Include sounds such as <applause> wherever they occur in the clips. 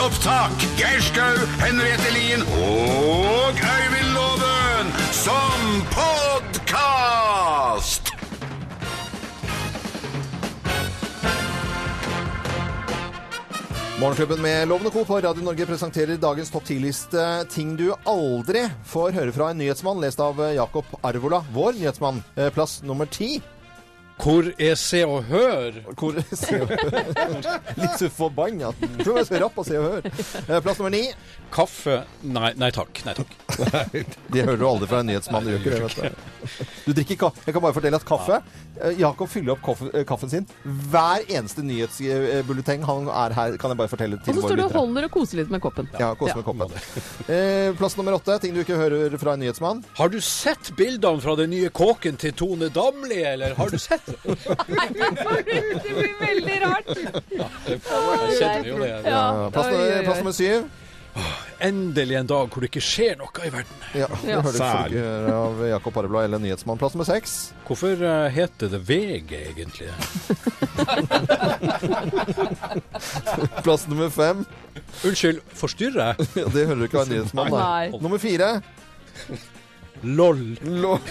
opptak. Geir Skau, Henriette Lien og Øyvind Loven som podkast! Morgenklubben med Lovende Co. på Radio Norge presenterer dagens topp 10-liste Ting du aldri får høre fra en nyhetsmann, lest av eh, Jakob Arvola, vår nyhetsmann. Eh, Plass nummer ti. Hvor er Se og Hør? Hvor <laughs> Se og Hør Litt så forbanna. Tror jeg er så rapp av Se og Hør. Eh, Plass nummer ni. Kaffe? Nei, nei takk. Nei takk. Det hører du aldri fra en nyhetsmann. Du, gjør ikke det, vet du. du drikker kaffe. Jeg kan bare fortelle at kaffe eh, Jakob fyller opp kaffe, eh, kaffen sin hver eneste nyhetsbulleteng han er her, kan jeg bare fortelle Og til så står våre du og lyttere. holder og koser litt med <laughs> koppen. Ja, kos med koppen. Eh, Plass nummer åtte. Ting du ikke hører fra en nyhetsmann. Har du sett bildene fra den nye kåken til Tone Damli, eller har du sett det? Det blir veldig rart. Jeg kjenner jo det. Ja. Ja, Eh, Plass Oi, oi, nummer, oi. plass nummer syv. Endelig en dag hvor det ikke skjer noe i verden. Ja, <laughs> det Ja. hører du folk gjøre av Jakob Arblad eller Nyhetsmann. Plass nummer seks. Hvorfor eh, heter det VG, egentlig? Plass nummer fem. <laughs> Unnskyld, forstyrrer jeg? Ja, det hører du ikke av en Nyhetsmann. Nei. Nummer fire. LOL. Lå... <laughs>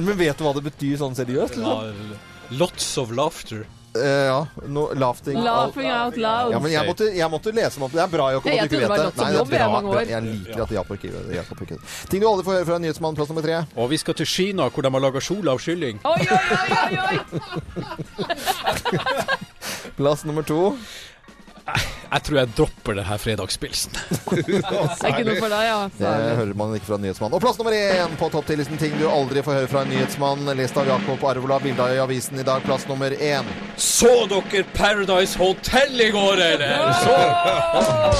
Men vet du hva det betyr sånn seriøst? Liksom? Ja, Lots of laughter. Eh, ja. No, laughing. Laughing out loud. Ja, men jeg måtte, jeg måtte lese meg opp. Det er bra, Jakob, Ja, at jeg du ikke trodde det var vet det. lots of jobb i bra, mange år. bra. Jeg liker at Jakob ikke Jakob ikke vet det. Ting du aldri får høre fra en Nyhetsmann. Plass nummer tre. Og vi skal til Kina, hvor de har laga kjole av kylling. Oi, oi, oi, oi, oi! Plass nummer to. Jeg tror jeg dropper det her fredagspilsen. <laughs> Det er ikke noe for deg, ja. Det Så- hører man ikke fra en nyhetsmann. Og plass nummer én på topp 10-listen ting du aldri får høre fra en nyhetsmann. Lest av Jakob Arvola, bilde i avisen i dag. Plass nummer én. Så dere Paradise Hotel i går, eller? Så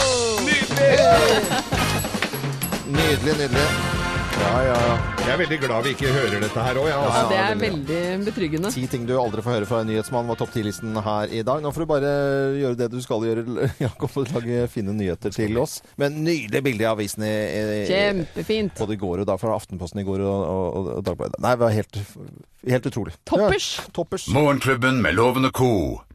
Nydelig, nydelig. Ja, ja, ja. Jeg er veldig glad vi ikke hører dette her òg, jeg. Ja, Altså. det er veldig betryggende. Ti ting du aldri får høre fra en nyhetsmann var topp 10-listen her i dag. Nå får du bare gjøre det du skal gjøre, <laughs> Jakob, og lage fine nyheter til oss. Men nydelig bilde i avisen i, i, Kjempefint. både i går og da, fra Aftenposten i går og, og, og Dagbladet. Nei, det var helt, helt utrolig. Toppers. Ja, toppers. Morgenklubben med Loven og co.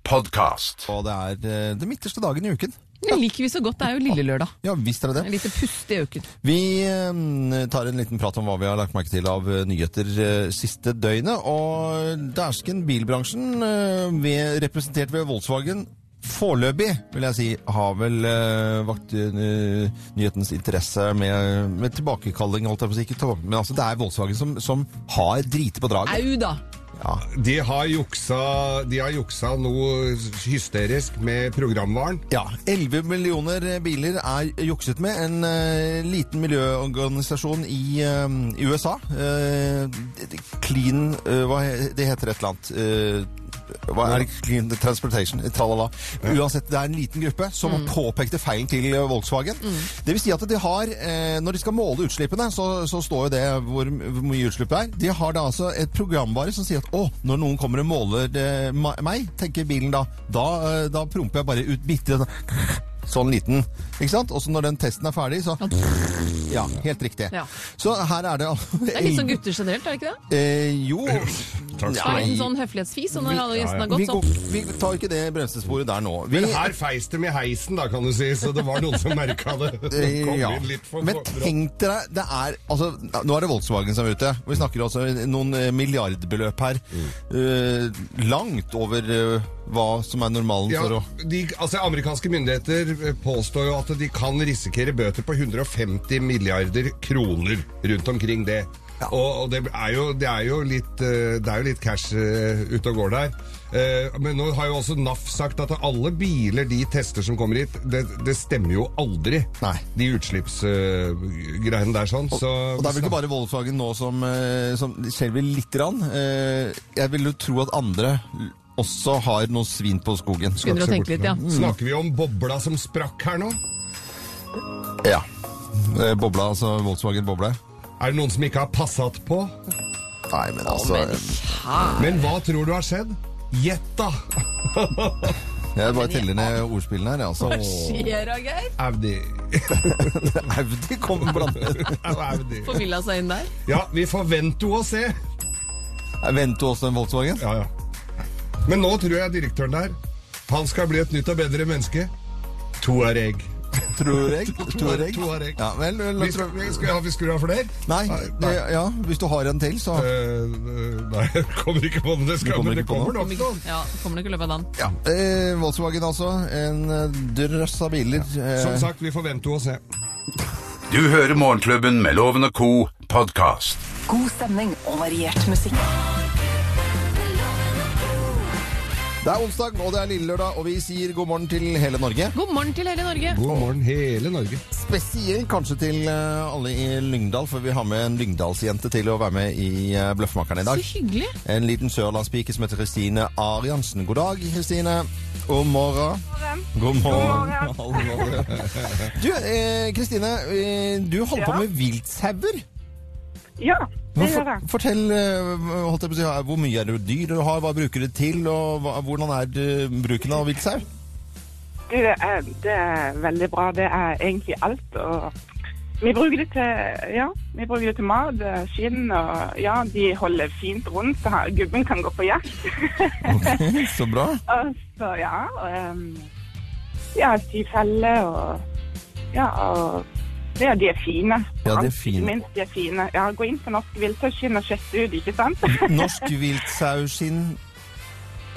podkast. Og det er eh, den midterste dagen i uken. Det liker vi så godt. Det er jo lille lørdag. Ja, visst er det det. En liten pust i uken. Vi eh, tar en liten prat om hva vi har lagt merke til av eh, nyheter eh, siste døgnet. Og dæsken, bilbransjen, eh, ved, representert ved Volkswagen, foreløpig, vil jeg si, har vel eh, vakt eh, nyhetens interesse med, med tilbakekalling, holdt jeg på å si. Ikke tilbake, men altså, det er Volkswagen som, som har driti på draget. Au, da. De har juksa, de har juksa noe hysterisk med programvaren. Ja, 11 millioner biler er jukset med. En eh, liten miljøorganisasjon i eh, i USA. eh, d- d- clean eh, Hva he- det heter et eller annet. eh, hva er det? Clean Transportation. eh, Tralala. Uansett, det er en liten gruppe som påpekte feilen til eh, Volkswagen. Det vil si at de har, eh, når de skal måle utslippene, så, så står jo det hvor, hvor mye utslipp det er. De har da altså et programvare som sier at å, når noen kommer og måler eh, ma- meg, tenker bilen da, da, eh, da promper jeg bare ut bitte sånn, <laughs> sånn liten. Ikke sant? Og så når den testen er ferdig, så Ja, helt riktig. Ja. Så her er det Det er litt sånn gutter generelt, er det ikke det? <laughs> Eh, jo Takk Det er en Nei. liten sånn høflighetsfis, og når alle gjestene har vi, gått, så går, vi tar ikke det bremsesporet der nå. Vi, Men her feis de i heisen, da, kan du si, så det var noen som merka det. De kom Eh, <laughs> ja. inn litt for Men tenk dere, det er altså, Nå er det Volkswagen som er ute. og Vi snakker altså noen eh, milliardbeløp her. Mm. Eh, langt over eh, hva som er normalen ja, for å de, altså Amerikanske myndigheter eh, påstår jo at de kan risikere bøter på 150 milliarder kroner rundt omkring det. Og, og det, er jo, det, er jo litt, eh, det er jo litt cash eh, ute og går der. Eh, Men nå har jo også NAF sagt at alle biler de tester som kommer hit, det, det stemmer jo aldri. Nei. De utslippsgreiene der sånn. så, Og det er vel ikke bare Volkswagen nå som, eh, som skjelver lite grann. Eh, jeg vil jo tro at andre også har noe svin på skogen. begynner å tenke litt, ja. Mm. Snakker vi om bobla som sprakk her nå? Ja. Eh, Bobla, altså Volkswagen-bobla. Er det noen som ikke har passat på? Nei, men altså Men hva tror du har skjedd? Gjett, da! Jeg bare teller ned ordspillene her, altså. Skjer da, Geir? Audi. Audi kommer <laughs> blant Audi. Formilla seg inn der. Ja, vi forventer jo å se. Venter også en Volkswagen? Ja, ja. Men nå tror jeg direktøren der Han skal bli et nytt og bedre menneske. Tuareg. Tror jeg. Tror jeg. Tuareg. Ja, vel, vel, Vi la- skal, vi skal, ja, vi skulle ha flere? Nei, det, ja, hvis du har en til, så Eh, nei, jeg kommer ikke på den. Det, skal, Ah. kommer men det ikke på kommer nok Kommer- noen. Ja, kommer nok i løpet av dagen. ja. eh, Volkswagen, altså. En eh, drøss av biler. Som Eh, sagt, vi forventer jo å se. Du hører Morgenklubben med Loven og Co. podkast. God stemning og variert musikk. det er onsdag, og det er lille lørdag, og vi sier god morgen til hele Norge. God morgen til hele Norge. God morgen, hele Norge. Spesielt kanskje til eh, alle i Lyngdal, for vi har med en lyngdalsjente til å være med i eh, Bløffmakerne i Så dag. hyggelig. En liten sørlandspike som heter Kristine Ariansen. God dag, Kristine. God morgen. God morgen. Du, eh, Kristine, eh, du holder på Ja. med viltsauer. Ja, det gjør For, jeg. fortell eh, holdt jeg på å si, hvor mye er det dyr du har, hva bruker du til, og hva, hvordan er eh, bruken av viltsau? Du, eh, det er veldig bra. Det er egentlig alt. Og vi bruker det til, ja, vi bruker det til mat, eh, skinn og ja, de holder fint rundt. så her- Gubben kan gå på jakt. Ok, <laughs> så bra. og så ja, ehm, og, em, ja, sy felle og ja, og ja, de er fine. Ja, de er Alt, fine. Minst de er fine. Ja, gå inn på Norsk Viltøyskinn og sjekk det ut, ikke <laughs> sant? Norsk viltsauskinn.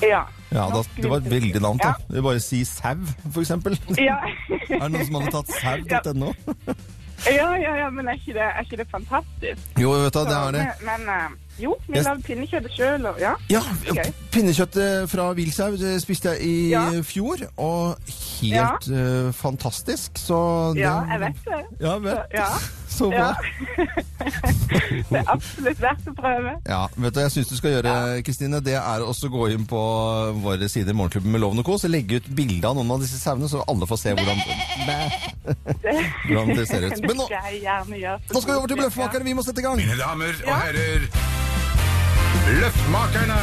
ja. Ja, da, Norsk det var et viltøyskinn. veldig navn, da. Det er Bare si sau, for <laughs> eksempel. Ja. Er det noen som hadde tatt sau.no? ja. ja, ja, ja, men er ikke det, er ikke det fantastisk? Jo, vet du, det Så, er det. Men, men, eh, jo, vi Jeg- lagde pinnekjøttet sjøl, og ja. Ja, Gøy. pinnekjøttet fra Vilsau det spiste jeg i Ja. fjor, og helt eh, fantastisk, så det- Ja, jeg vet det. Ja, jeg vet. Ja, <laughs> Så ja. bra. <laughs> det er absolutt verdt å prøve. Ja, vet du, hva jeg syns du skal gjøre, Kristine, det er også å gå inn på våre sider i Morgenklubben med Loven og Co. Så legge ut bilde av noen av disse sauene, så alle får se hvordan, <laughs> hvordan det ser ut. Men nå, Det skal jeg gjerne gjøre. nå skal vi over til Bløffmakerne, vi må sette i gang! Mine damer og Ja. herrer, Løftmakerne!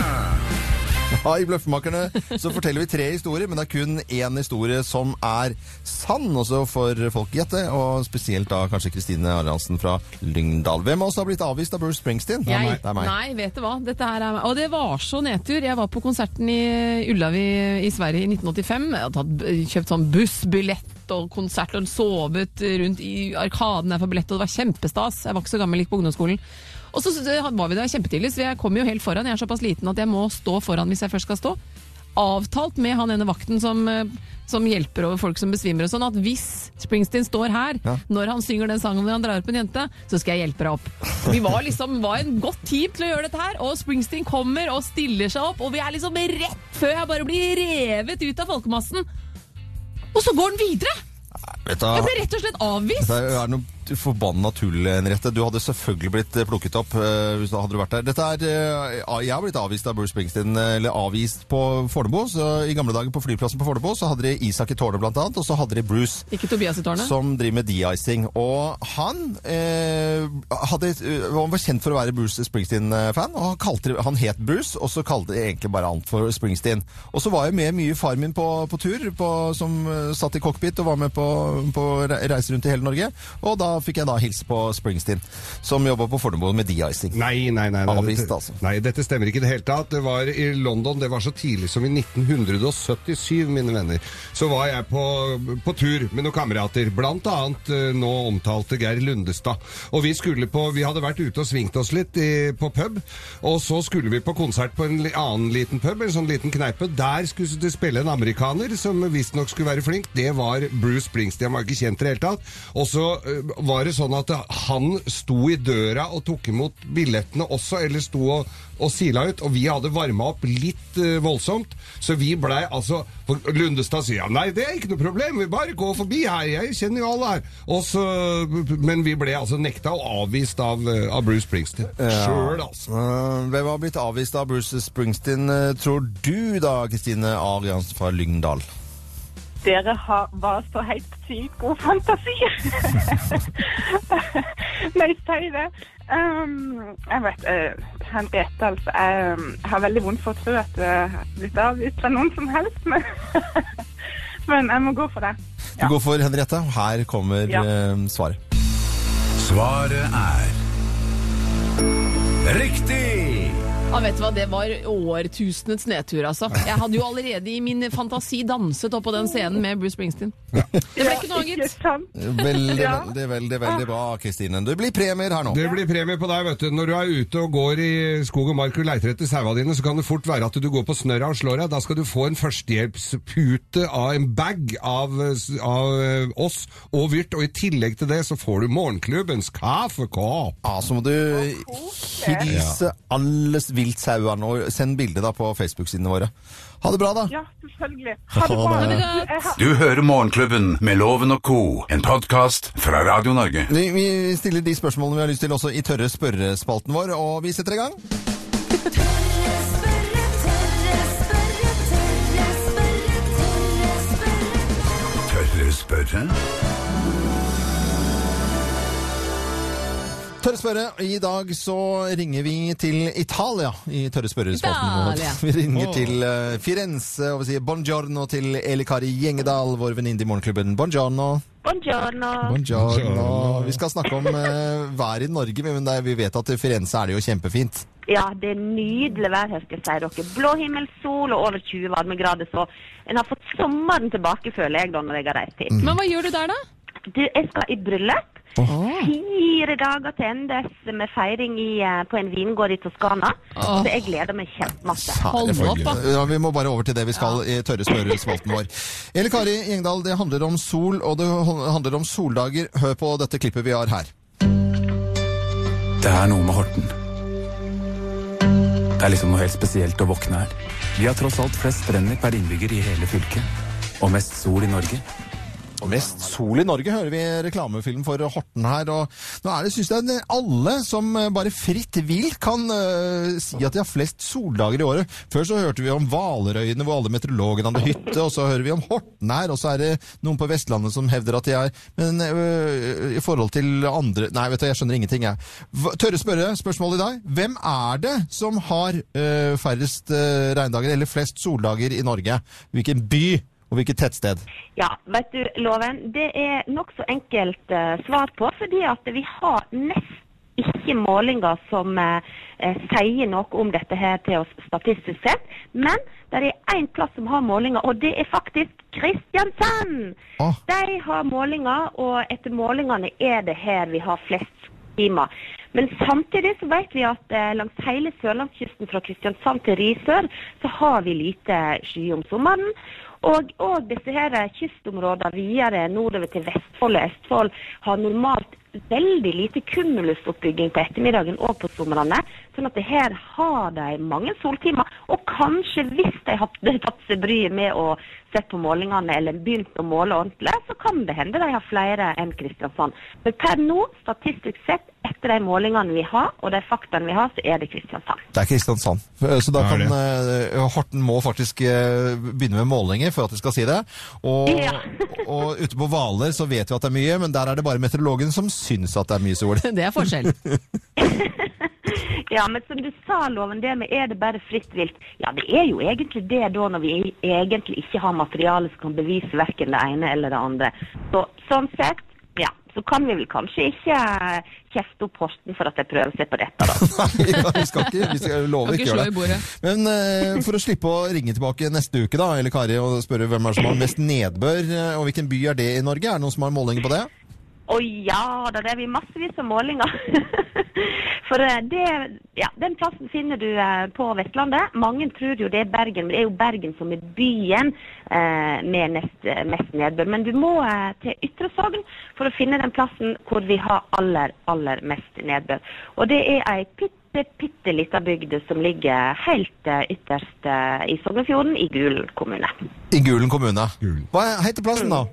Ja, I Bløffmakerne så forteller vi tre historier, men det er kun én historie som er sann, også for folk å gjette, og spesielt da kanskje Kristine Ariansen fra Lyngdal. Hvem av oss har blitt avvist av Bruce Springsteen? Jeg, Det er meg. nei, vet du hva. Dette her er meg. Og det var så nedtur. Jeg var på konserten i Ullavi i Sverige i 1985. Jeg hadde tatt, kjøpt sånn bussbillett og konsert og sovet rundt i Arkaden der for billett, og det var kjempestas. Jeg var ikke så gammel, gikk på ungdomsskolen. Og så var vi der kjempetidlig, så jeg kom jo helt foran. Jeg er såpass liten at jeg må stå foran hvis jeg først skal stå. Avtalt med han ene vakten som, eh, som hjelper over folk som besvimer og sånn, at hvis Springsteen står her, Ja. når han synger den sangen når han drar opp en jente, så skal jeg hjelpe deg opp. Vi var liksom, var en godt team til å gjøre dette her, og Springsteen kommer og stiller seg opp, og vi er liksom rett før jeg bare blir revet ut av folkemassen. Og så går den videre! Vet du, Jeg ble rett og slett avvist! det er noe forbanna tull, Henriette. Du hadde selvfølgelig blitt eh, plukket opp eh, hvis du hadde vært der. Dette er, eh, ja, jeg har blitt avvist av Bruce Springsteen, eh, eller avvist på Fornebu. Så I gamle dager på flyplassen på Fornebu så hadde de Isak i tårnet, blant annet, og så hadde de Bruce. Ikke Tobias i tårnet? Som driver med de-icing. Og han eh, hadde, eh, han var kjent for å være Bruce Springsteen-fan. og han, kalte det- han het Bruce, og så kalte de egentlig bare han for Springsteen. Og så var jeg med mye far min på, på tur, på, som eh, satt i cockpit og var med på, på re- reise rundt i hele Norge. Og da fikk jeg da hilse på Springsteen, som jobba på Fornebu med de-icing. Nei, nei, nei. nei. Avvist, dette- altså. Nei, dette stemmer ikke i det hele tatt. Det var i London, det var så tidlig som i 1977, mine venner. Så var jeg på, på tur med noen kamerater, blant annet eh, nå omtalte Geir Lundestad. Og vi skulle på, vi hadde vært ute og svingt oss litt i, på pub, og så skulle vi på konsert på en li- annen liten pub, en sånn liten kneipe. Der skulle det spille en amerikaner som visstnok skulle være flink. Det var Bruce Springsteen, han var ikke kjent i det hele tatt. Og så eh, var det sånn at eh, han sto i døra og tok imot billettene også, eller sto og, og sila ut, og vi hadde varma opp litt eh, voldsomt, så vi blei altså for Lundestad sier ja, nei, det er ikke noe problem, vi bare går forbi her, jeg kjenner jo alle her. Og så, men vi ble altså nekta og avvist av, eh, av Bruce Springsteen. Sjøl, altså. Eh, hvem har blitt avvist av Bruce Springsteen, eh, tror du da, Kristine Ariansen fra Lyngdal? Dere har bare så helt sykt god fantasi. <laughs> Nei, si det. Um, jeg vet eh, Henriette, altså. Jeg um, har veldig vondt for å tro at jeg har blitt avvist fra noen som helst, men, <laughs> men jeg må gå for det. Du går for Henriette. Her kommer Ja. eh, svaret. Svaret er riktig! Ja, vet du hva, Det var årtusenets nedtur, altså. Jeg hadde jo allerede i min fantasi danset oppå den scenen med Bruce Springsteen. Det ble ikke noe, Ikke gitt. sant? Veldig, Ja. veldig, veldig, veldig bra, Kristine. Det blir premier her nå. Det blir premie på deg, vet du. Når du er ute og går i skog og mark og leiter etter saua dine, så kan det fort være at du går på snørra og slår deg. Da skal du få en førstehjelpspute av en bag av, av eh, oss og Vyrt, og i tillegg til det så får du morgenklubbens kaffekopp. Ja, så må du hilse alle viltsauene og send bilde da på Facebook-sidene våre. Ha det bra, da. Ja, selvfølgelig. Ha det Ha det bra. godt. Jeg har- Du hører Morgenklubben med Loven og co., en podkast fra Radio Norge. Vi, vi stiller de spørsmålene vi har lyst til også i tørre spørrespalten vår, og vi setter i gang. Tørre spørre? Tørre spørre, i dag så ringer vi til Italia i tørre spørrespalten vår. Italia. <laughs> Vi ringer til eh, Firenze og vi sier buongiorno til Eli Kari Gjengedal, vår venninne i morgenklubben. Buongiorno. Buongiorno. Buongiorno. Vi skal snakke om eh, været i Norge, men det er, vi vet at i Firenze er det jo kjempefint. Ja, det er nydelig vær her, skal jeg si dere. Blå himmel, sol og over 20 varmegrader, så en har fått sommeren tilbake, føler jeg, da, når jeg har reist hit. Men hva gjør du der, da? Du, jeg skal i bryllup. Fire dager til endes med feiring i, eh, på en vingård i Toskana. Åh. Så jeg gleder meg kjempemasse. Hold Herre opp, da. forgud. Ja, vi må bare over til det vi skal i tørre spørrespalten vår. Eli Kari Gjengdal, det handler om sol, og det handler om soldager. Hør på dette klippet vi har her. Det er noe med Horten. Det er liksom noe helt spesielt å våkne her. Vi har tross alt flest strender per innbygger i hele fylket. Og mest sol i Norge. Og mest sol i Norge hører vi reklamefilm for Horten her, og nå er det, synes jeg, det er alle som eh, bare fritt vil kan øh, si at de har flest soldager i året. Før så hørte vi om Valerøyene, hvor alle meteorologene hadde hytte, og så hører vi om Horten her, og så er det noen på Vestlandet som hevder at de er, men øh, i forhold til andre, nei vet du, jeg skjønner ingenting jeg. Hva- Tørre spørre, spørsmålet i dag, hvem er det som har øh, færrest øh, regndager, eller flest soldager i Norge? Hvilken by, og hvilket tettsted? Ja, vet du, Loven, det er nokså enkelt eh, svar på, fordi at vi har nesten ikke målinger som eh, eh, sier noe om dette her til oss statistisk sett, men det er én plass som har målinger, og det er faktisk Kristiansand! Åh. De har målinger, og etter målingene er det her vi har flest klima. Men samtidig så vet vi at eh, langs hele sørlandskysten fra Kristiansand til Risør, så har vi lite sky om sommeren. Og, og disse her eh, kystområdene videre nordover til Vestfold og Østfold har normalt veldig lite kumulusoppbygging på ettermiddagen og på somrene. Sånn at det her har de mange soltimer. Og kanskje hvis de hadde tatt seg bryet med å sett på målingene eller begynt å måle ordentlig, så kan det hende de har flere enn Kristiansand. Men per nå, statistisk sett, etter de målingene vi har og de faktaene vi har, så er det Kristiansand. Det er Kristiansand. Så da Ja, kan det. eh, Horten må faktisk eh, begynne med målinger for at de skal si det. Og, Ja. <laughs> og ute på Hvaler så vet vi at det er mye, men der er det bare meteorologen som syns at det er mye sol. <laughs> Det er forskjell. Ja, men som du sa, Loven, det med er det bare fritt vilt. Ja, det er jo egentlig det da når vi egentlig ikke har materiale som kan bevise verken det ene eller det andre. Så sånn sett, ja, så kan vi vel kanskje ikke eh, kjefte opp Horten for at de prøver seg på dette, da. <laughs> Nei, ja, vi skal ikke, vi skal love Kan ikke ikke slå gjøre i det. bordet. Men eh, for å slippe å ringe tilbake neste uke da, eller Kari, og spørre hvem er det som har mest nedbør, eh, og hvilken by er det i Norge? Er det noen som har målinger på det? Å ja da, det er vi massevis av målinger. <laughs> For eh, det, ja, den plassen finner du eh, på Vestlandet. Mange tror jo det er Bergen, men det er jo Bergen som er byen eh, med nest, eh, mest nedbør. Men du må eh, til Ytre Sogn for å finne den plassen hvor vi har aller, aller mest nedbør. Og det er ei bitte, bitte lita bygd som ligger helt eh, ytterst eh, i Sognefjorden, i Gulen kommune. I Gulen kommune. Gulen. Hva heter plassen da?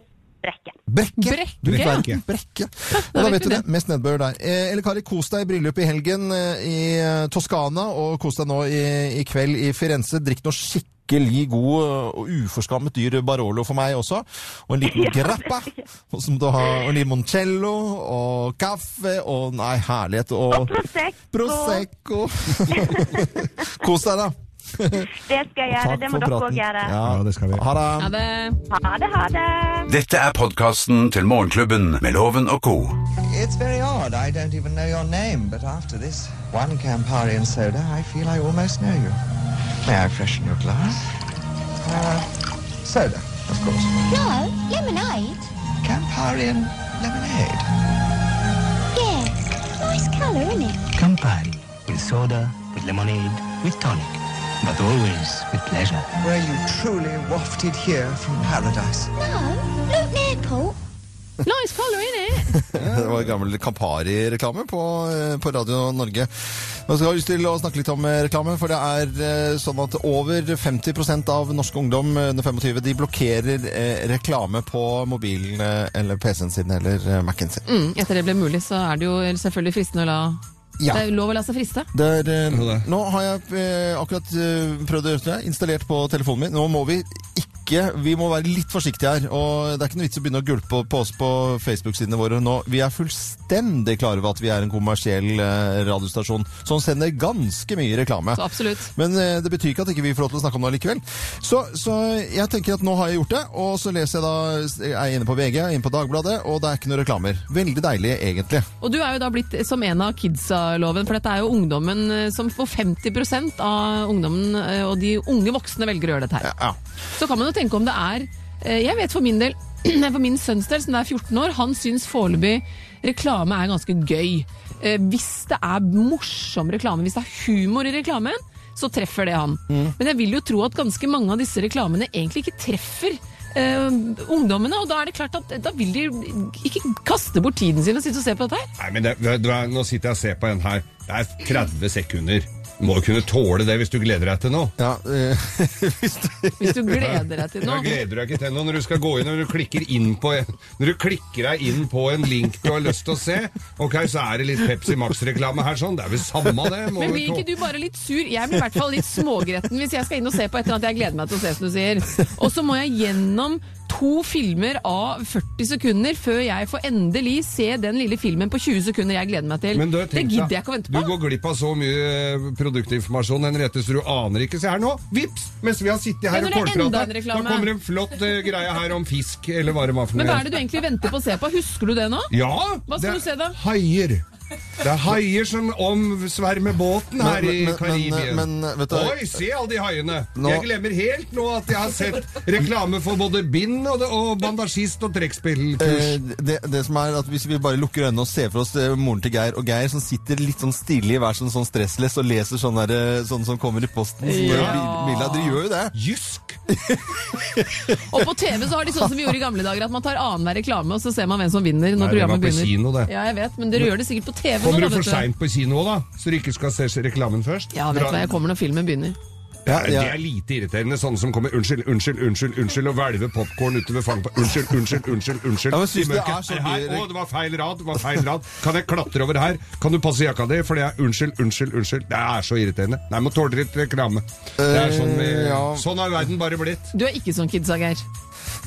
Brekke. Brekke. Brekke, Du vet ja. Brekke. Brekke. <laughs> Og da vet du det. Mest nedbør der. Eh, Eller Kari, kos deg i bryllup i helgen eh, i eh, Toskana, og kos deg nå i, i kveld i Firenze. Drikk noe skikkelig god eh, og uforskammet dyr Barolo for meg også. Og en <laughs> liten grappa. Og som du har og limoncello og kaffe og Nei, herlighet. Og Og Prosecco. Prosecco. <laughs> kos deg, da. Det skal jeg gjøre. Det må dere òg gjøre. Ja, det skal vi. Ha det. Ja, det... Ha det, ha det. Dette er podkasten til Morgenklubben med Loven og co. It's very odd. I don't even know your name, but after this one Campari and soda, I feel I almost know you. May I freshen your glass? Uh, soda, of course. No, lemonade. Campari and lemonade. Yeah, nice colour, isn't it? Campari, with soda, with lemonade, with tonic, but always with pleasure. Were you truly wafted here from paradise? No, look there, Paul. Nice colour, isn't it? Det var gammel Campari-reklame på, eh, på Radio Norge. Nå skal jeg ha lyst til å snakke litt om eh, reklame, for det er eh, sånn at over 50 av norsk ungdom under 25 de blokkerer eh, reklame på mobilen eh, eller PC-en sin eller eh, Mac-en sin. Mm, etter det ble mulig, så er det jo selvfølgelig fristende å la Ja. Det er jo lov å la seg friste. Det er, eh, nå har jeg eh, akkurat eh, prøvd å gjøre det, installert på telefonen min. Nå må vi ikke Vi må være litt forsiktige her. og Det er ikke noe vits å begynne å gulpe på oss på Facebook-sidene våre nå. Vi er fullstendig klare over at vi er en kommersiell eh, radiostasjon som sender ganske mye reklame. Så absolutt. Men eh, det betyr ikke at ikke vi får lov til å snakke om det likevel. Så, så jeg tenker at nå har jeg gjort det, og så leser jeg da Jeg er inne på VG, jeg er inne på Dagbladet, og det er ikke noe reklamer. Veldig deilig, egentlig. Og du er jo da blitt som en av kidsa-loven, for dette er jo ungdommen eh, som får 50 av ungdommen eh, og de unge voksne velger å gjøre dette her. Ja. Så kan man jo tenke om det er eh, Jeg vet for min del <clears throat> For min sønns del, som er 14 år, han syns foreløpig reklame er ganske gøy. Eh, Hvis det er morsom reklame, hvis det er humor i reklamen, så treffer det han. Men jeg vil jo tro at ganske mange av disse reklamene egentlig ikke treffer eh, ungdommene, og da er det klart at da vil de ikke kaste bort tiden sin og sitte og se på dette her. Nei, men det, det, det, Nå sitter jeg og ser på en her. Det er 30 sekunder. Du må jo kunne tåle det hvis du gleder deg til noe. Ja, eh, <laughs> Hvis du gleder deg til Ja, noe. gleder deg ikke til noe når du skal gå inn og du klikker inn på en, Når du klikker deg inn på en link du har lyst til å se. Ok, så er det litt Pepsi Max-reklame her sånn. Det er vel samme det. må Men vi blir ikke tå- du bare litt sur? Jeg blir i hvert fall litt smågretten hvis jeg skal inn og se på et eller annet jeg gleder meg til å se, som du sier. Og så må jeg gjennom to filmer av 40 sekunder før jeg får endelig se den lille filmen på 20 sekunder jeg gleder meg til. Men du, det tenk deg, gidder jeg ikke å vente Du på. går glipp av så mye eh, produktinformasjon, Henriette, så du aner ikke. Se her nå, vips! Mens vi har sittet her Ja, og når det er enda kålpratet, en da reklame. kommer en flott eh, greie her om fisk, eller hva det var for Men noe. hva <laughs> er det du egentlig venter på å se på? Husker du det nå? Ja! Hva det skal du se da? er Haier. Det er haier som omsvermer båten her Men- i men- men- Karibien. men, vet du- Oi, se alle de haiene! Nå- Jeg glemmer helt nå at jeg har sett reklame for både bind og, og bandasjist og trekkspillkurs. Eh, det, det som er at Hvis vi bare lukker øynene og ser for oss eh, moren til Geir og Geir som sitter litt sånn stille i hver sin sånn stressless og leser sånn der, eh, sånn som kommer i posten sånn der Ja. bil- bilder. Dere gjør jo det. Jysk! Og på TV så har de sånn som vi gjorde i gamle dager, at man tar annenhver reklame, og så ser man hvem som vinner Nei, når det var programmet på begynner. kino, det. Ja, jeg vet, men dere gjør det sikkert på TV nå, Kommer da, du for vet du. seint på kino da, så du ikke skal se reklamen først? Ja, vet du Dra- hva, jeg kommer når filmen begynner. Ja, Nei, Det ja. er lite irriterende, sånne som kommer unnskyld, unnskyld, unnskyld, unnskyld og hvelver popkorn utover fanget på unnskyld, unnskyld, unnskyld. unnskyld Ja, men synes i du det mørket. er så Her, her, mye- Å, det var feil rad, det var feil rad. Kan jeg klatre over her? Kan du passe jakka di? For det er unnskyld, unnskyld, unnskyld. Det er så irriterende. Nei, må tåle litt reklame. Det er sånn, vi, Eh, ja. sånn har verden bare blitt. Du er ikke sånn kidsa, Geir.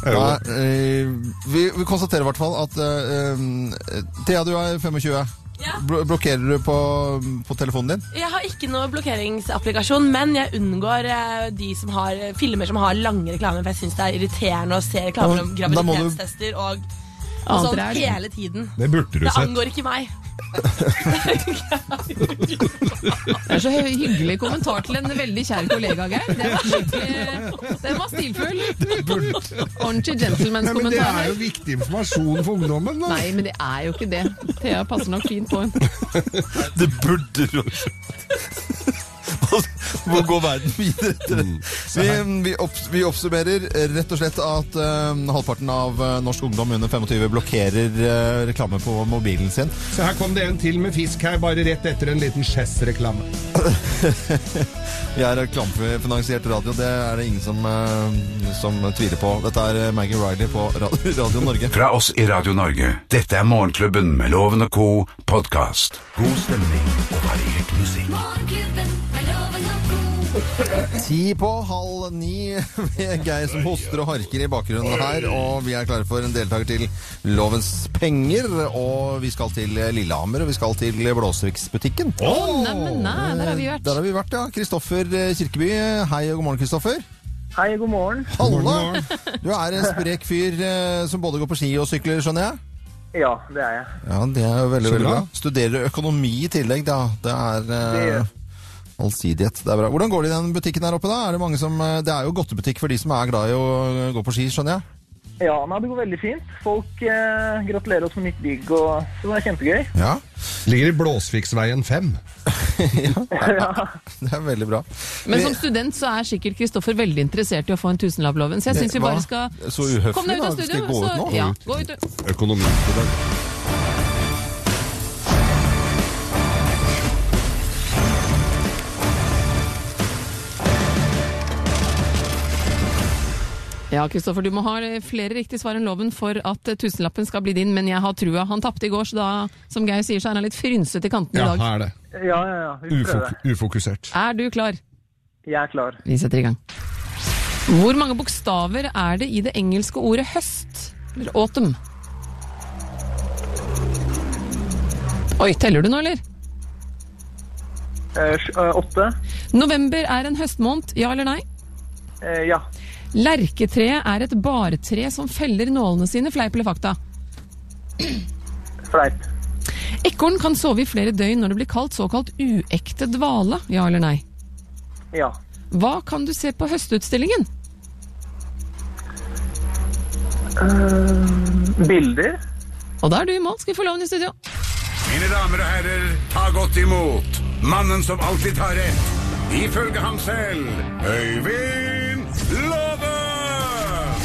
Nei, eh, vi, vi konstaterer i hvert fall at eh, eh, Thea, du er 25. Ja. Blo blokkerer du på, på telefonen din? Jeg har ikke noe blokkeringsapplikasjon, men jeg unngår eh, de som har filmer som har lange reklamer, for jeg syns det er irriterende å se reklamer om Ja, men da må du- graviditetstester og, og Annet Altså, sånn er det. hele tiden. Det burde du Det sett. angår ikke meg. Det er så hy- hyggelig kommentar til en veldig kjær kollega, Geir. Den var, skikkelig- den var stilfull. Ordentlig Nei, men det er gentleman's-kommentar. jo viktig informasjon for ungdommen. Da. Nei, men det er jo ikke det. Thea passer nok fint på. Det burde du Hvor går verden videre etter det? Vi, vi, obs- vi oppsummerer rett og slett at eh, halvparten av eh, norsk ungdom under 25 blokkerer eh, reklame på mobilen sin. Så her kom det en til med fisk her, bare rett etter en liten Chess-reklame. Vi er reklamefinansiert radio, det er det ingen som, eh, som tviler på. Dette er eh, Maggie Riley på Radio, radio Norge. Fra oss i Radio Norge. Dette er Morgenklubben med Loven og co. podkast. God stemning og variert musikk. Ti på halv ni med Geir som hoster og harker i bakgrunnen her. Og vi er klare for en deltaker til Lovens penger. Og vi skal til Lillehammer, og vi skal til Blåsviksbutikken. Å, neimen, nei, der har vi vært. Der har vi vært, ja. Kristoffer eh, Kirkeby, hei og god morgen, Kristoffer. Hei, god morgen. Halla! Du er en sprek fyr eh, som både går på ski og sykler, skjønner jeg? Ja, det er jeg. Ja, det er jo veldig, Så veldig bra. bra. Studerer økonomi i tillegg, da. Det er eh, Det- allsidighet. Det er bra. Hvordan går det i den butikken her oppe, da? Er det, mange som, eh, det er jo godtebutikk for de som er glad i å eh, gå på ski, skjønner jeg. Ja, nei, det går veldig fint. Folk eh, gratulerer oss med nytt bygg, og så det er kjempegøy. <laughs> Ja. Ligger i Blåsviksveien 5. Det er veldig bra. Men som student så er sikkert Kristoffer veldig interessert i å få en tusenlapploven, så jeg syns vi Hva? bare skal Så uhøflig, Kom deg ut av da. Skal studio. jeg gå ut så- nå? Ja, gå ut. du. Økonomi. Ja, Kristoffer, du må ha flere riktige svar enn loven for at eh, tusenlappen skal bli din, men jeg har trua. Han tapte i går, så da, som Geir sier, så er han litt frynsete i kantene Ja, i dag. her er det. Ja, ja, ja. Vi får prøve. Ufok ufokusert. Er du klar? Jeg er klar. Vi setter i gang. Hvor mange bokstaver er det i det engelske ordet høst? Eller autumn? Oi, teller du nå, eller? Eh, sj- eh, åtte. November er en høstmåned, ja eller nei? Eh, ja. Lerketreet er et bartre som feller nålene sine, fleip eller fakta? Fleip. Ekorn kan sove i flere døgn når det blir kalt såkalt uekte dvale, ja eller nei? Ja. Hva kan du se på høstutstillingen? Eh, bilder. Og da er du i mål. Skal vi få loven i studio? Mine damer og herrer, ta godt imot mannen som alltid tar rett. Ifølge ham selv Øyvind Låve!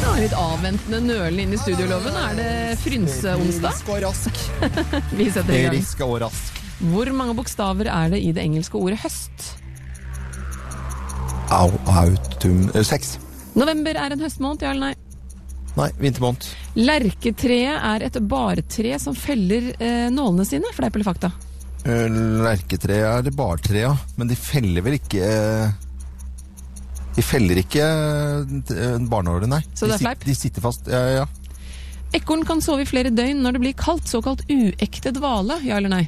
Ja, litt avventende nølende inn i studioloven. Er det frynseonsdag? Frisk og rask. Vi setter i gang. Frisk og rask. Hvor mange bokstaver er det i det engelske ordet høst? Au, autum eh, Seks. November er en høstmåned, ja eller nei? Nei, vintermåned. Lerketreet er et bartre som feller eh, nålene sine, fleip eller fakta? Eh, Lerketre er det bartre, ja. Men de feller vel ikke eh, De feller ikke eh, barnåler, nei. Så det er De sit- fleip? De sitter fast. Ja, ja, ja. Ekorn kan sove i flere døgn når det blir kaldt, såkalt uekte dvale, ja eller nei?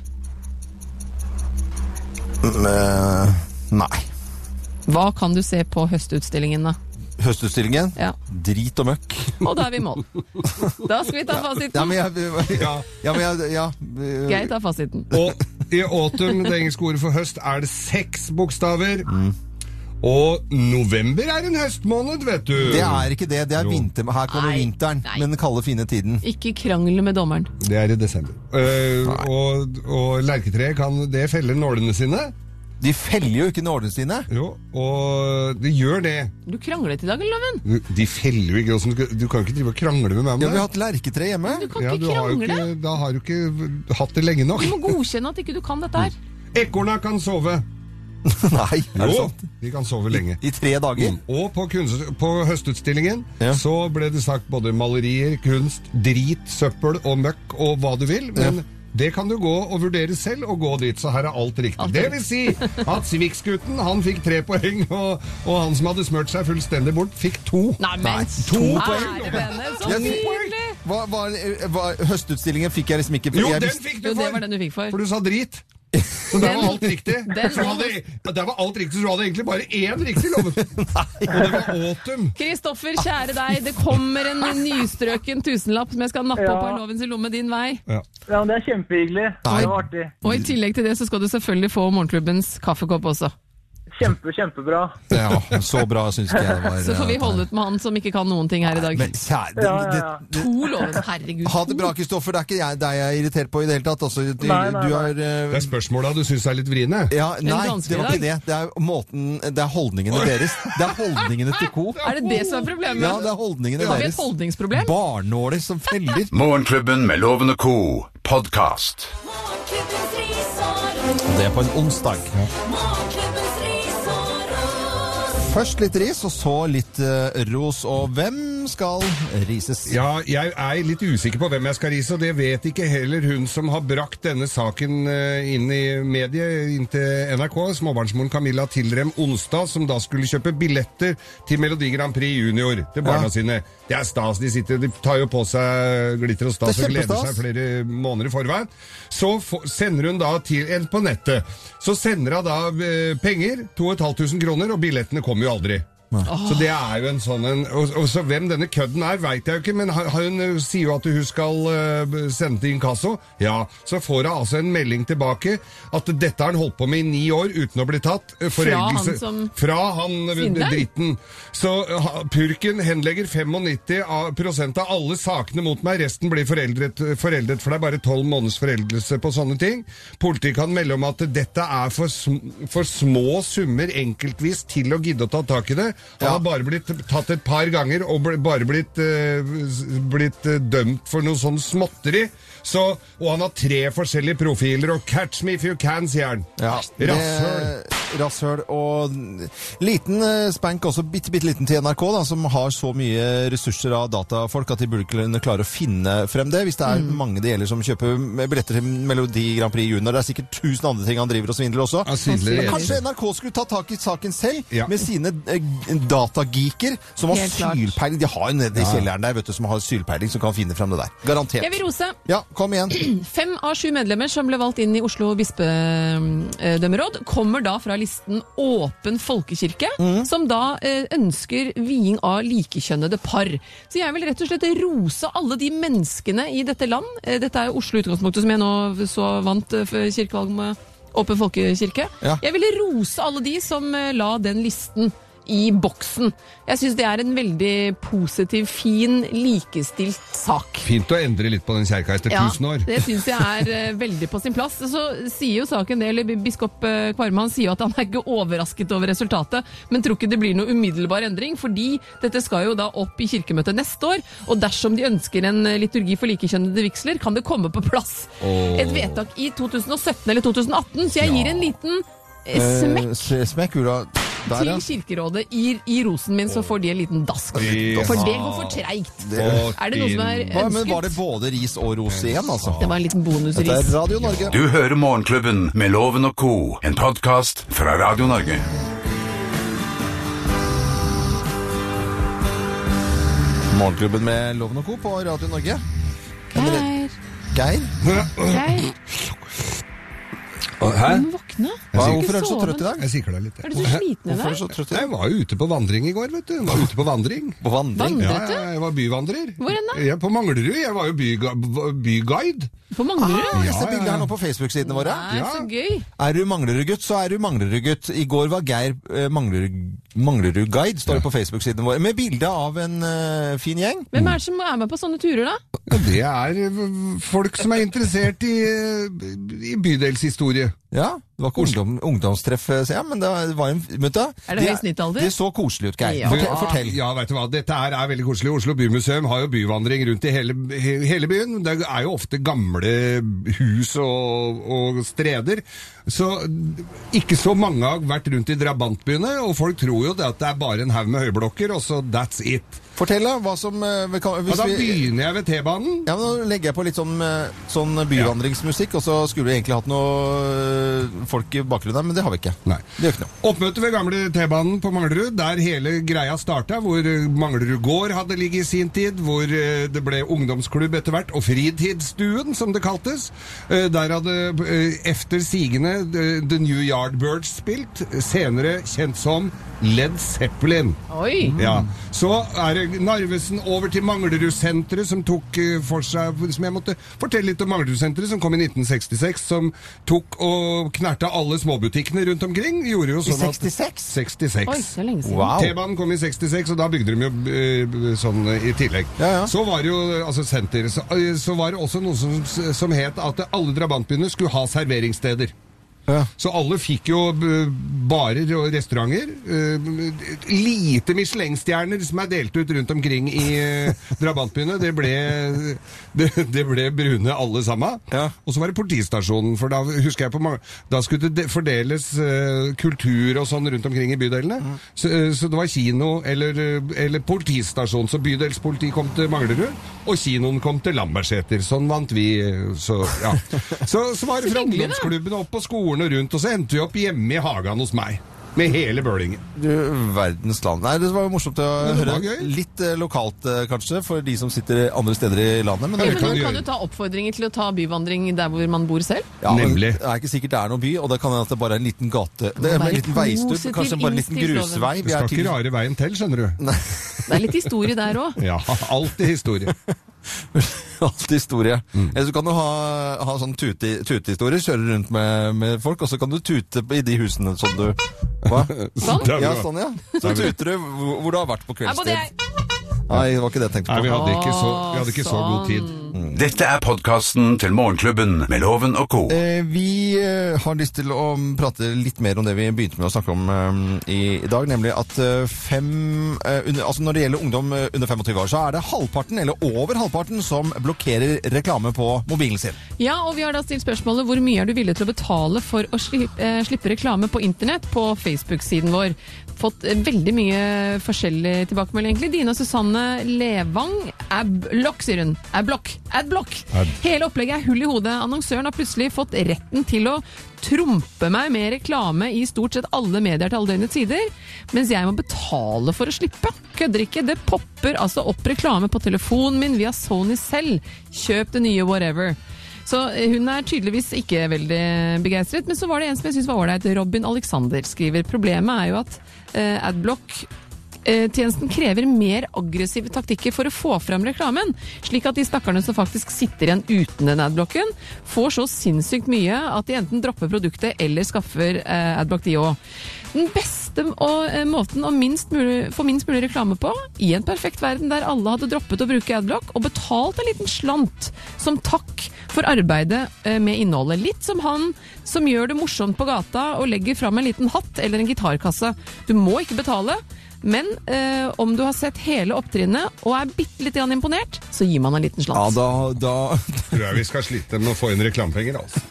Mm, eh, nei. Hva kan du se på høstutstillingen, da? Høstutstillingen? Ja. Drit og møkk. Og da er vi i mål. Da skal vi ta <laughs> Ja, fasiten. men jeg Ja, ja men jeg ja, eh, Geir tar fasiten. Og i autumn, det engelske ordet for høst, er det seks bokstaver. Mm. Og november er en høstmåned, vet du. Det er ikke det. Det er Jo. vinter. Her kommer Nei, vinteren. nei. Men den kalde, fine tiden. Ikke krangle med dommeren. Det er i desember. Eh, og, og lerketreet, kan det felle nålene sine? De feller jo ikke nålene sine. Jo, og det gjør det. Du kranglet i dag, Loven. De feller jo ikke. åssen skal- Du kan ikke drive og krangle med meg om Ja, det. vi har hatt lerketre <laughs> hjemme. Du kan Ja, ikke du har jo krangle. ikke, da har du ikke hatt det lenge nok. Du må godkjenne at ikke du kan dette her. Ekorna kan sove. <laughs> Nei, er det Jo, sant? de kan sove lenge. I tre dager. Mm. Og på, kunst, på høstutstillingen så ble det sagt både malerier, kunst, drit, søppel og møkk og hva du vil. Men det kan du gå og vurdere selv og gå dit, så her er alt riktig. Alt riktig. Det vil si at Sviksgutten han fikk tre poeng, og, og han som hadde smørt seg fullstendig bort, fikk to. Nei, men Nei, to to poeng! poeng. Så Jeg fikk poeng. nydelig! Hva, hva, hva, høstutstillingen fikk jeg liksom ikke Jo, jeg den visste- fikk du Jo, det for! var den du fikk for. For du sa drit. Så der var alt riktig. den Så du hadde, der var alt riktig, så du hadde egentlig bare én riktig <laughs> lov. Og det var autumn. Kristoffer, kjære deg, det kommer en nystrøken tusenlapp som jeg skal nappe Ja. opp av lovens lomme din vei. Ja, men det er kjempehyggelig. Nei. Det var artig. Og i tillegg til det så skal du selvfølgelig få morgenklubbens kaffekopp også. Kjempe, kjempebra. Ja, så bra syns ikke jeg det var. <laughs> Så får vi holde ut med han som ikke kan noen ting her i dag. Men kjære det, Ja, ja, det, ja. det, To loven, herregud. Ha det bra, Kristoffer. Det er ikke jeg, deg jeg er irritert på i det hele tatt. Altså, du, Nei, nei, du nei. er eh, Det er spørsmåla du syns er litt vriene. ja, er Nei, vanskelig det var i ikke det. Det er, måten, det er holdningene deres. Det er holdningene til Co. <laughs> Er det det som er problemet? Ja, det er holdningene Har vi deres. et holdningsproblem? Barnåler som feller. Morgenklubben med Loven og Co. podkast. Morgenklubbens risår. Og det er på en onsdag. Morgenklubbens risår. Først litt ris, og så litt eh, ros. Og hvem skal rises? Ja, jeg er litt usikker på hvem jeg skal rise, og det vet ikke heller hun som har brakt denne saken eh, inn i mediet, inn til NRK. Småbarnsmoren Camilla Tilrem Onsdag, som da skulle kjøpe billetter til Melodi Grand Prix Junior til barna Ja. sine. Det er stas. De sitter, de tar jo på seg glitter og stas Det er og gleder kjempestas. seg flere måneder i forveien. Så få- sender hun da til en på nettet. Så sender hun da eh, penger, 2500 kroner, og billettene kommer jo aldri. Så det er jo en sånn en og, og så Hvem denne kødden er, veit jeg jo ikke, men ha- hun eh, sier jo at hun skal eh, b- sende til inkasso. Ja, Så får hun altså en melding tilbake at dette har han holdt på med i ni år uten å bli tatt. Eh, Foreldelse han som- Fra han eh, Svindler? dritten. Så eh, ha- purken henlegger 95 av- prosent av alle sakene mot meg. Resten blir foreldret, foreldet, for det er bare 12 måneders foreldelse på sånne ting. Politiet kan melde om at dette er for, sm for små summer enkeltvis til å gidde å ta tak i det. Han har bare blitt tatt et par ganger og ble, bare blitt, eh, s- blitt eh, dømt for noe sånn småtteri. Så, og han har tre forskjellige profiler, og 'catch me if you can', sier han. Ja, det- Rasshøl. Rasshøl. Og liten eh, spank også, bitte, bitte liten til NRK, da, som har så mye ressurser av datafolk at de burde kunne klare å finne frem det, hvis det er Mm. mange det gjelder som kjøper billetter til Melodi Grand Prix Junior. Det er sikkert tusen andre ting han driver og svindler også. Han svindler Men i kanskje NRK skulle ta tak i saken selv, Ja. med sine eh, datageeker som har Helt klart. sylpeiling. De har jo nede i Ja. kjelleren der, vet du, som har sylpeiling, som kan finne frem det der. Garantert. Jeg vil rose Ja, kom igjen. fem av sju medlemmer som ble valgt inn i Oslo bispedømmeråd, kommer da fra listen Åpen folkekirke, som da eh, ønsker viing av likekjønnede par. Så jeg vil rett og slett rose alle de menneskene i dette land. Eh, Dette er jo Oslo i utgangspunktet, som jeg nå så vant eh, for kirkevalg med Åpen folkekirke. Ja. Jeg ville rose alle de som eh, la den listen i boksen. Jeg syns det er en veldig positiv, fin, likestilt sak. Fint å endre litt på den kjerka etter 1000 år. Det syns jeg er eh, veldig på sin plass. Så sier jo saken det, eller biskop eh, Kvarme han sier jo at han er ikke overrasket over resultatet, men tror ikke det blir noe umiddelbar endring, fordi dette skal jo da opp i kirkemøtet neste år. Og dersom de ønsker en eh, liturgi for likekjønnede vigsler, kan det komme på plass Åh. et vedtak i 2017 eller 2018, så jeg gir en liten eh, <clears throat> smekk. Eh, se- Smekk, Ula. Der, ja. Til Kirkerådet i, i rosen min, så får de en liten dask. Ja. For det går for treigt. Det- Er det noe som er Hva- Men var det ønsket? både ris og ros igjen, altså? Det var en liten bonusris. Dette er Radio Norge. Du hører Morgenklubben med Loven og Co., en podkast fra Radio Norge. Morgenklubben med Loven og Co. på Radio Norge. Geir. Geir? Geir, Hæ? du må våkne. Hva, Jeg sier- hvorfor er du så trøtt i dag? Jeg sikler deg litt. Er du så sliten i dag? Hvorfor er du så trøtt i dag? Jeg var jo ute på vandring i går, vet du. Jeg var ute på vandring. På vandring? Ja, Vandret du? ja, jeg var byvandrer. Hvor hen da? Jeg, på Manglerud. Jeg var jo byga- v- byguide. På Manglerud? Ah, jeg Ja, ser ja, bilder ja. her nå på Facebook-sidene våre. Nei, så gøy. Er du Manglerud-gutt, så er du Manglerud-gutt. I går var Geir eh, Manglerud- Manglerud-guide, står det på Facebook-siden vår, med bilde av en eh, fin gjeng. Hvem er det som er med på sånne turer, da? Ja, det er eh, folk som er interessert i, eh, i bydelshistorie. Ja, Det var ikke ungdom, ungdomstreff, eh, ser jeg, men det var en Vet du Er det høy snittalder? Det så koselig ut, Geir. Ja. Fortell. fortell. Ja, vet du hva. Dette her er veldig koselig. Oslo Bymuseum har jo byvandring rundt i hele, he, hele byen. Det er jo ofte gamle hus og, og streder. Så ikke så mange har vært rundt i drabantbyene, og folk tror jo det at det er bare en haug med høyblokker, og så that's it. Fortell, da. Hva som eh, vi kan, Og hvis da vi, begynner jeg ved T-banen. ja, men Nå legger jeg på litt sånn, eh, sånn byvandringsmusikk, og så skulle vi egentlig hatt noe eh, folk i bakgrunnen her, men det har vi ikke. Nei. Det gjør ikke noe. Oppmøte ved gamle T-banen på Manglerud, der hele greia starta, hvor eh, Manglerud gård hadde ligget i sin tid, hvor eh, det ble ungdomsklubb etter hvert, og Fritidsstuen, som det kaltes. Eh, Der hadde eh, efter sigende eh, The New Yardbirds spilt, senere kjent som Led Zeppelin. Oi! Ja. Så er det Narvesen over til Manglerud-senteret, som tok eh, for seg Som jeg måtte fortelle litt om Manglerud-senteret, som kom i 1966. Som tok og knerta alle småbutikkene rundt omkring. Gjorde jo I sånn at 66? 66. Oi, det er lenge siden. Wow. T-banen kom i 66, og da bygde de jo eh, sånn eh, i tillegg. Ja, ja. Så var det jo eh, altså senter. Så, eh, så var det også noe som, som het at alle drabantbyene skulle ha serveringssteder. Ja. Så alle fikk jo eh, barer og restauranter. eh, Lite Michelin-stjerner som er delt ut rundt omkring i eh, drabantbyene. Det ble, det, det ble brune alle sammen. Ja. Og så var det politistasjonen, for da husker jeg på mange Da skulle det de- fordeles eh, kultur og sånn rundt omkring i bydelene. Så, eh, så det var kino eller, eh, eller politistasjon. Så bydelspoliti kom til Manglerud, og kinoen kom til Lambertseter. Sånn vant vi. eh, Så, ja. så, så var det fra hyggelig, da. ungdomsklubben opp på skolen og rundt, og så endte vi opp hjemme i hagen hos meg. Med hele bølingen. Du verdens land. Nei, det var jo morsomt å Men det var høre. Litt eh, lokalt, eh, kanskje, for de som sitter andre steder i landet. Men Ja, men man kan jo ta oppfordringer til å ta byvandring der hvor man bor selv. Ja, men Det er ikke sikkert det er noen by, og det kan hende at det bare er en liten gate. Det Må er være en liten veistubb, positiv kanskje bare en liten innstilt, Loven. grusvei. Du skal ikke <laughs> rare veien til, skjønner du. Det er litt historie der òg. Ja, alltid historie. Alltid historie. Eller så kan du ha, ha sånn tute, tutehistorie, kjøre rundt med, med folk, og så kan du tute i de husene som du Hva? Sånn? Ja, sånn, ja. Så Der vi- tuter du hvor, hvor du har vært på Her bodde kveldstid. jeg. Nei, det var ikke det jeg tenkte på. Nei, vi hadde ikke så, vi hadde ikke så god tid. Dette er podkasten til Morgenklubben med Loven og co. Eh, vi eh, har lyst til å prate litt mer om det vi begynte med å snakke om eh, i, i dag, nemlig at eh, fem eh, under, Altså når det gjelder ungdom eh, under 25 år, så er det halvparten, eller over halvparten, som blokkerer reklame på mobilen sin. Ja, og vi har da stilt spørsmålet hvor mye er du villig til å betale for å slippe, eh, slippe reklame på internett på Facebook-siden vår. Fått eh, veldig mye forskjellig tilbakemelding, egentlig. Dine og Susanne Levang er blokk, sier hun. Er blokk. Er blokk. Ad. Hele opplegget er hull i hodet. Annonsøren har plutselig fått retten til å trumpe meg med reklame i stort sett alle medier til alle døgnets sider, mens jeg må betale for å slippe. Kødder ikke, det popper altså opp reklame på telefonen min via Sony selv. Kjøp det nye whatever. Så eh, hun er tydeligvis ikke veldig begeistret, men så var det en som jeg synes var ålreit. Robin Alexander skriver problemet er jo at eh, Adblock Eh, Tjenesten krever mer aggressive taktikker for å få fram reklamen, slik at de stakkarene som faktisk sitter igjen uten den adblocken, får så sinnssykt mye at de enten dropper produktet eller skaffer eh, adblock de òg. Den beste og, eh, måten å minst mulig, få minst mulig reklame på, i en perfekt verden der alle hadde droppet å bruke adblock og betalt en liten slant som takk for arbeidet eh, med innholdet. Litt som han som gjør det morsomt på gata og legger fram en liten hatt eller en gitarkasse. Du må ikke betale. Men eh, om du har sett hele opptrinnet og er bitte litt grann imponert, så gir man en liten Ja, slans. da, da Tror jeg vi skal slite med å få inn reklamepenger, altså.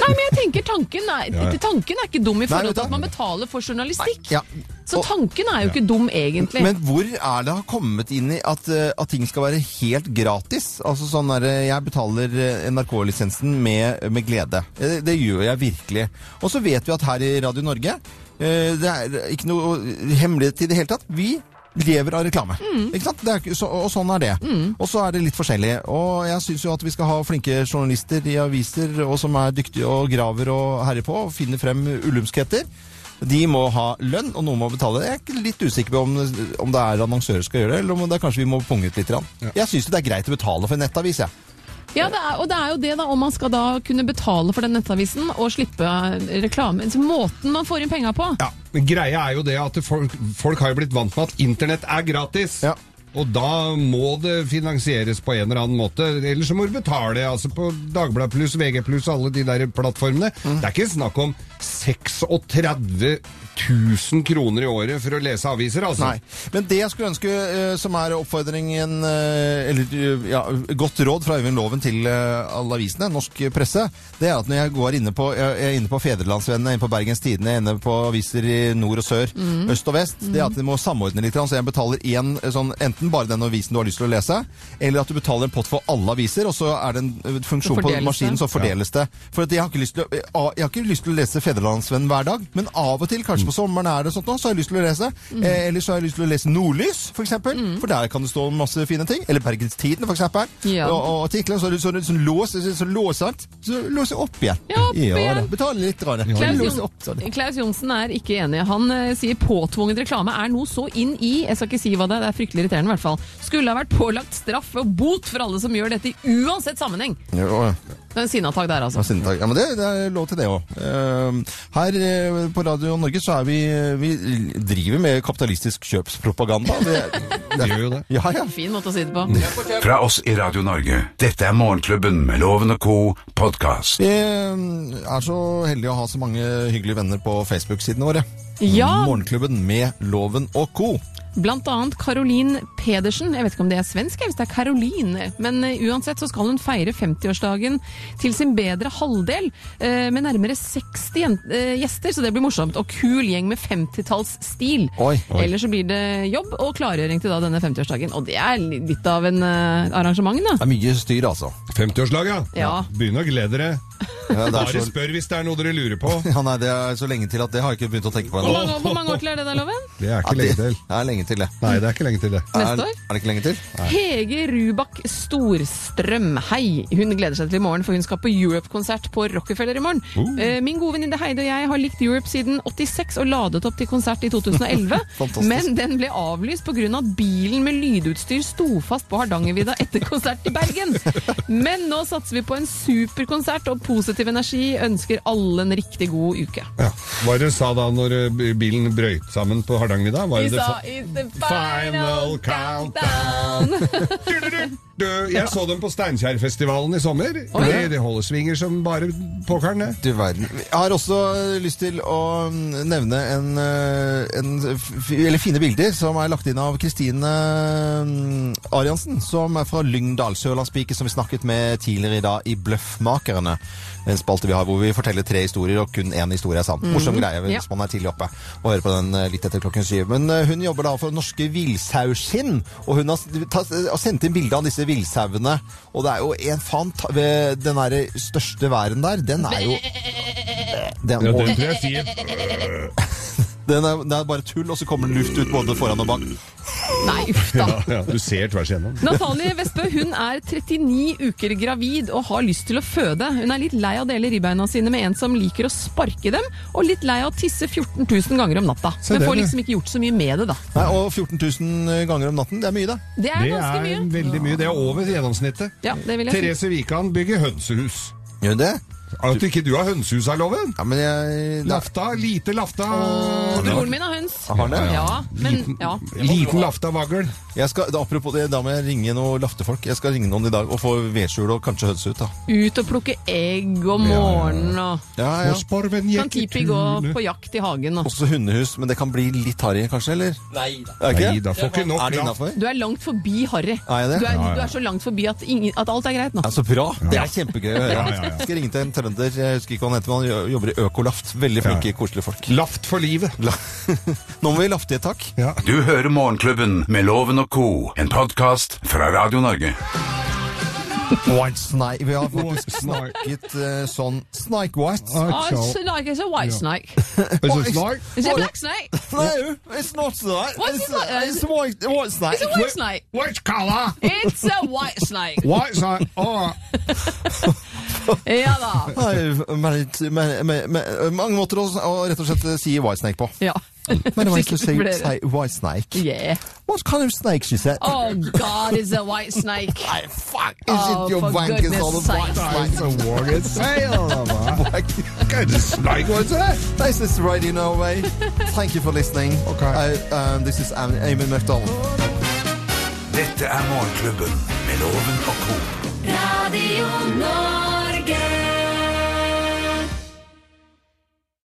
Nei, men jeg tenker tanken er, Ja, ja. tanken er ikke dum i Nei, forhold vet du til at man betaler for journalistikk. Ja. Så tanken er jo ikke dum, egentlig. Men hvor er det har kommet inn i at, eh, at ting skal være helt gratis? Altså sånn der, eh, Jeg betaler eh, NRK-lisensen med, med glede. Eh, Det gjør jeg virkelig. Og så vet vi at her i Radio Norge eh, Det er ikke noe hemmelighet i det hele tatt. Vi lever av reklame. Ikke sant? Det er, ikke- så, og sånn er det. Og så er det litt forskjellig. Og jeg syns jo at vi skal ha flinke journalister i aviser og som er dyktige og graver og herjer på og finner frem ulumskheter. De må ha lønn, og noen må betale. Jeg er ikke litt usikker på om, om det er annonsører som skal gjøre det, eller om det er kanskje vi må punge ut litt. grann. Jeg syns det er greit å betale for en nettavis, jeg. Ja, det er, og det er jo det, da, om man skal da kunne betale for den nettavisen og slippe eh, reklame. Så måten man får inn penga på. Men greia er jo det at folk, folk har jo blitt vant med at internett er gratis. Og da må det finansieres på en eller annen måte. Ellers så må du betale altså på Dagbladet pluss, VG pluss, alle de der plattformene. Det er ikke snakk om 36 000 kroner i året for å lese aviser, altså. Nei. Men det jeg skulle ønske, eh, som er oppfordringen eh, Eller eh, ja, godt råd fra Øyvind Loven til eh, alle avisene, norsk presse, det er at når jeg går inne på, jeg jeg er inne på Fedrelandsvennen, jeg er inne på Bergens Tidende, jeg er inne på aviser i nord og sør, Mm. øst og vest, det er at de må samordne litt, grann, så jeg betaler én eh, sånn, enten bare den avisen du har lyst til å lese, eller at du betaler en pott for alle aviser, og så er det en eh, funksjon på Fordeles det. maskinen som fordeles det. For at jeg har ikke lyst til å, eh, ah, jeg har ikke lyst til å lese Fedrelandsvennen hver dag, men av og til, Mm. kanskje på sommeren er det sånt nå, så har jeg lyst til å lese. Mm. Eh, eller så har jeg lyst til å lese Nordlys, for eksempel. Mm. For der kan det stå masse fine ting. Eller Bergens Tidende, for eksempel. Ja. Og, og artikler. Så er det sånn, sånn lås, så, så låsant. Så låser jeg opp igjen. Ja, opp igjen. da. Betaler litt. Rane. Så Klaus, låser jeg opp, sånn. Jon- Klaus Johnsen er ikke enig. Han eh, sier påtvunget reklame er noe så inn i Jeg skal ikke si hva det er, det er fryktelig irriterende i hvert fall. Skulle ha vært pålagt straff og bot for alle som gjør dette i uansett sammenheng. Jo, ja. Det er en sinnetak der, altså. Ja, sinnetak. Ja, men det, det er lov til det òg. Her eh, på Radio Norge så er vi eh, Vi driver med kapitalistisk kjøpspropaganda. Vi <laughs> gjør jo det. Ja, ja. Fin måte å si det på. Fra oss i Radio Norge. Dette er Morgenklubben med Loven og co. podkast. Vi mm, er så heldige å ha så mange hyggelige venner på Facebook-sidene våre. Ja. Morgenklubben med Loven og co. Blant annet Caroline Pedersen. Jeg vet ikke om det er svensk, jeg, hvis det er Caroline. Men eh, uansett så skal hun feire 50-årsdagen til sin bedre halvdel eh, med nærmere 60 jen- eh, gjester, så det blir morsomt. Og kul gjeng med 50-tallsstil. Oi. Oi. Ellers så blir det jobb og klargjøring til da denne 50-årsdagen. Og det er li- litt av en eh, arrangement, da. Det er mye styr, altså. 50-årslag, ja. Ja. Begynn å glede dere. Ja, det er Bare så- spør hvis det er noe <laughs> dere lurer på. Ja, nei, Det er så lenge til at det har jeg ikke begynt å tenke på Hvor ennå. mange, hvor mange år til er det der, Loven? Det er Ja, ikke lenge det- til. Det er lenge til, det. Nei, det er ikke lenge til det. Neste Er, år? er det ikke lenge til? Hege Rubak Storstrøm, hei. Hun gleder seg til i morgen, for hun skal på Europe-konsert på Rockefeller i morgen. Uh. Eh, Min gode venninne Heide og jeg har likt Europe siden 86 og ladet opp til konsert i 2011. Fantastisk. men den ble avlyst pga. Av at bilen med lydutstyr sto fast på Hardangervidda etter konsert i Bergen. Men nå satser vi på en superkonsert og positiv energi. Ønsker alle en riktig god uke. Ja. Hva er det hun sa da når eh, bilen brøyt sammen på Hardangervidda? Hva er Vi det det sa fa- it's the Final final countdown. Du, jeg så dem på Steinkjerfestivalen i sommer. Det, det holder svinger som bare pokkeren, det. Du verden. Jeg har også eh, lyst til å mm, nevne en, eh, en f- Eller fine bilder som er lagt inn av Kristine eh, Ariansen, som er fra Lyngdal, Sørlandspiket, som vi snakket med tidligere i dag i Bløffmakerne. En spalte vi har hvor vi forteller tre historier, og kun én historie er sann. Morsom Mhm. greie hvis Ja. man er tidlig oppe og hører på den eh, litt etter klokken syv. Men eh, hun jobber da for Norske Villsauskinn, og hun har s- ta- har sendt inn bilde av disse villsauene. Og det er jo en fanta... ved Den derre største væren der, den er jo den, Ja, og- den tror jeg sier den er, det er bare tull, og så kommer det luft ut både foran og bak. Nei, uff da. ja, ja, Du ser tvers igjennom. Natalie Vestbø hun er 39 uker gravid og har lyst til å føde. Hun er litt lei av å dele ribbeina sine med en som liker å sparke dem, og litt lei av å tisse 14 000 ganger om natta. Se Men det, får du. liksom ikke gjort så mye med det, da. Nei, og 14 000 ganger om natten, det er mye, det. Det er ganske mye. veldig mye. Det er over gjennomsnittet. Ja, det vil jeg si. Therese Wikan bygger hønsehus. Gjør det? At ikke du har hønsehus her, Loven? Ja, men jeg... Lafta, lite lafta. Broren min har høns. Har han det? Ja, men ja. Liten lafta vagl. Jeg skal, da, apropos det, da må jeg ringe noen laftefolk. Jeg skal ringe noen i dag og få vedskjul og kanskje hønse ut, da. Ut og plukke egg om morgenen og Ja, ja. Kan Tipi gå på jakt i hagen og Også hundehus, men det kan bli litt harry, kanskje, eller? Nei da. Er det ikke? Nei, da får ikke nok Er det laft. innafor? Du er langt forbi Harry. Er jeg det? Du, er, Ja, ja. du er så langt forbi at, ingen, at alt er greit nå. Ja, så bra! Det er kjempegøy å høre. Ja, ja, ja. Skal ringe til en trønder, jeg husker ikke hva han heter, men han jobber i Økolaft. Veldig flinke, koselige folk. Laft for livet. <laughs> Nå må vi lafte i et tak. Du hører Morgenklubben med Loven og co., en podkast fra Radio Norge. White Nei, vi har faktisk snakket eh, sånn Snike White. Ah, it's like it's a white snake. White- Is it a black snake? No, it's not snake. What's It's, it like? it's white, white snake. It's a white snake. Which color? It's a white snake. White snake. Ja da. Nei, men- men- men- men- mange måter å, å rett og slett eh, si white snake på. Ja. Men <laughs> hva er det du sier? Sikkert Si flere. White snake. Yeah. What kind of snake she said? Oh God, it's a white snake. I fuck. Is Oh, it your for wankers goodness or the sake. white snake? snake was that? This is Radio <laughs> Norway. Thank you for listening. Okay. Uh, um, this is Am- Eamon McDonald. Dette er Morgenklubben med Loven og co. Radio Norge.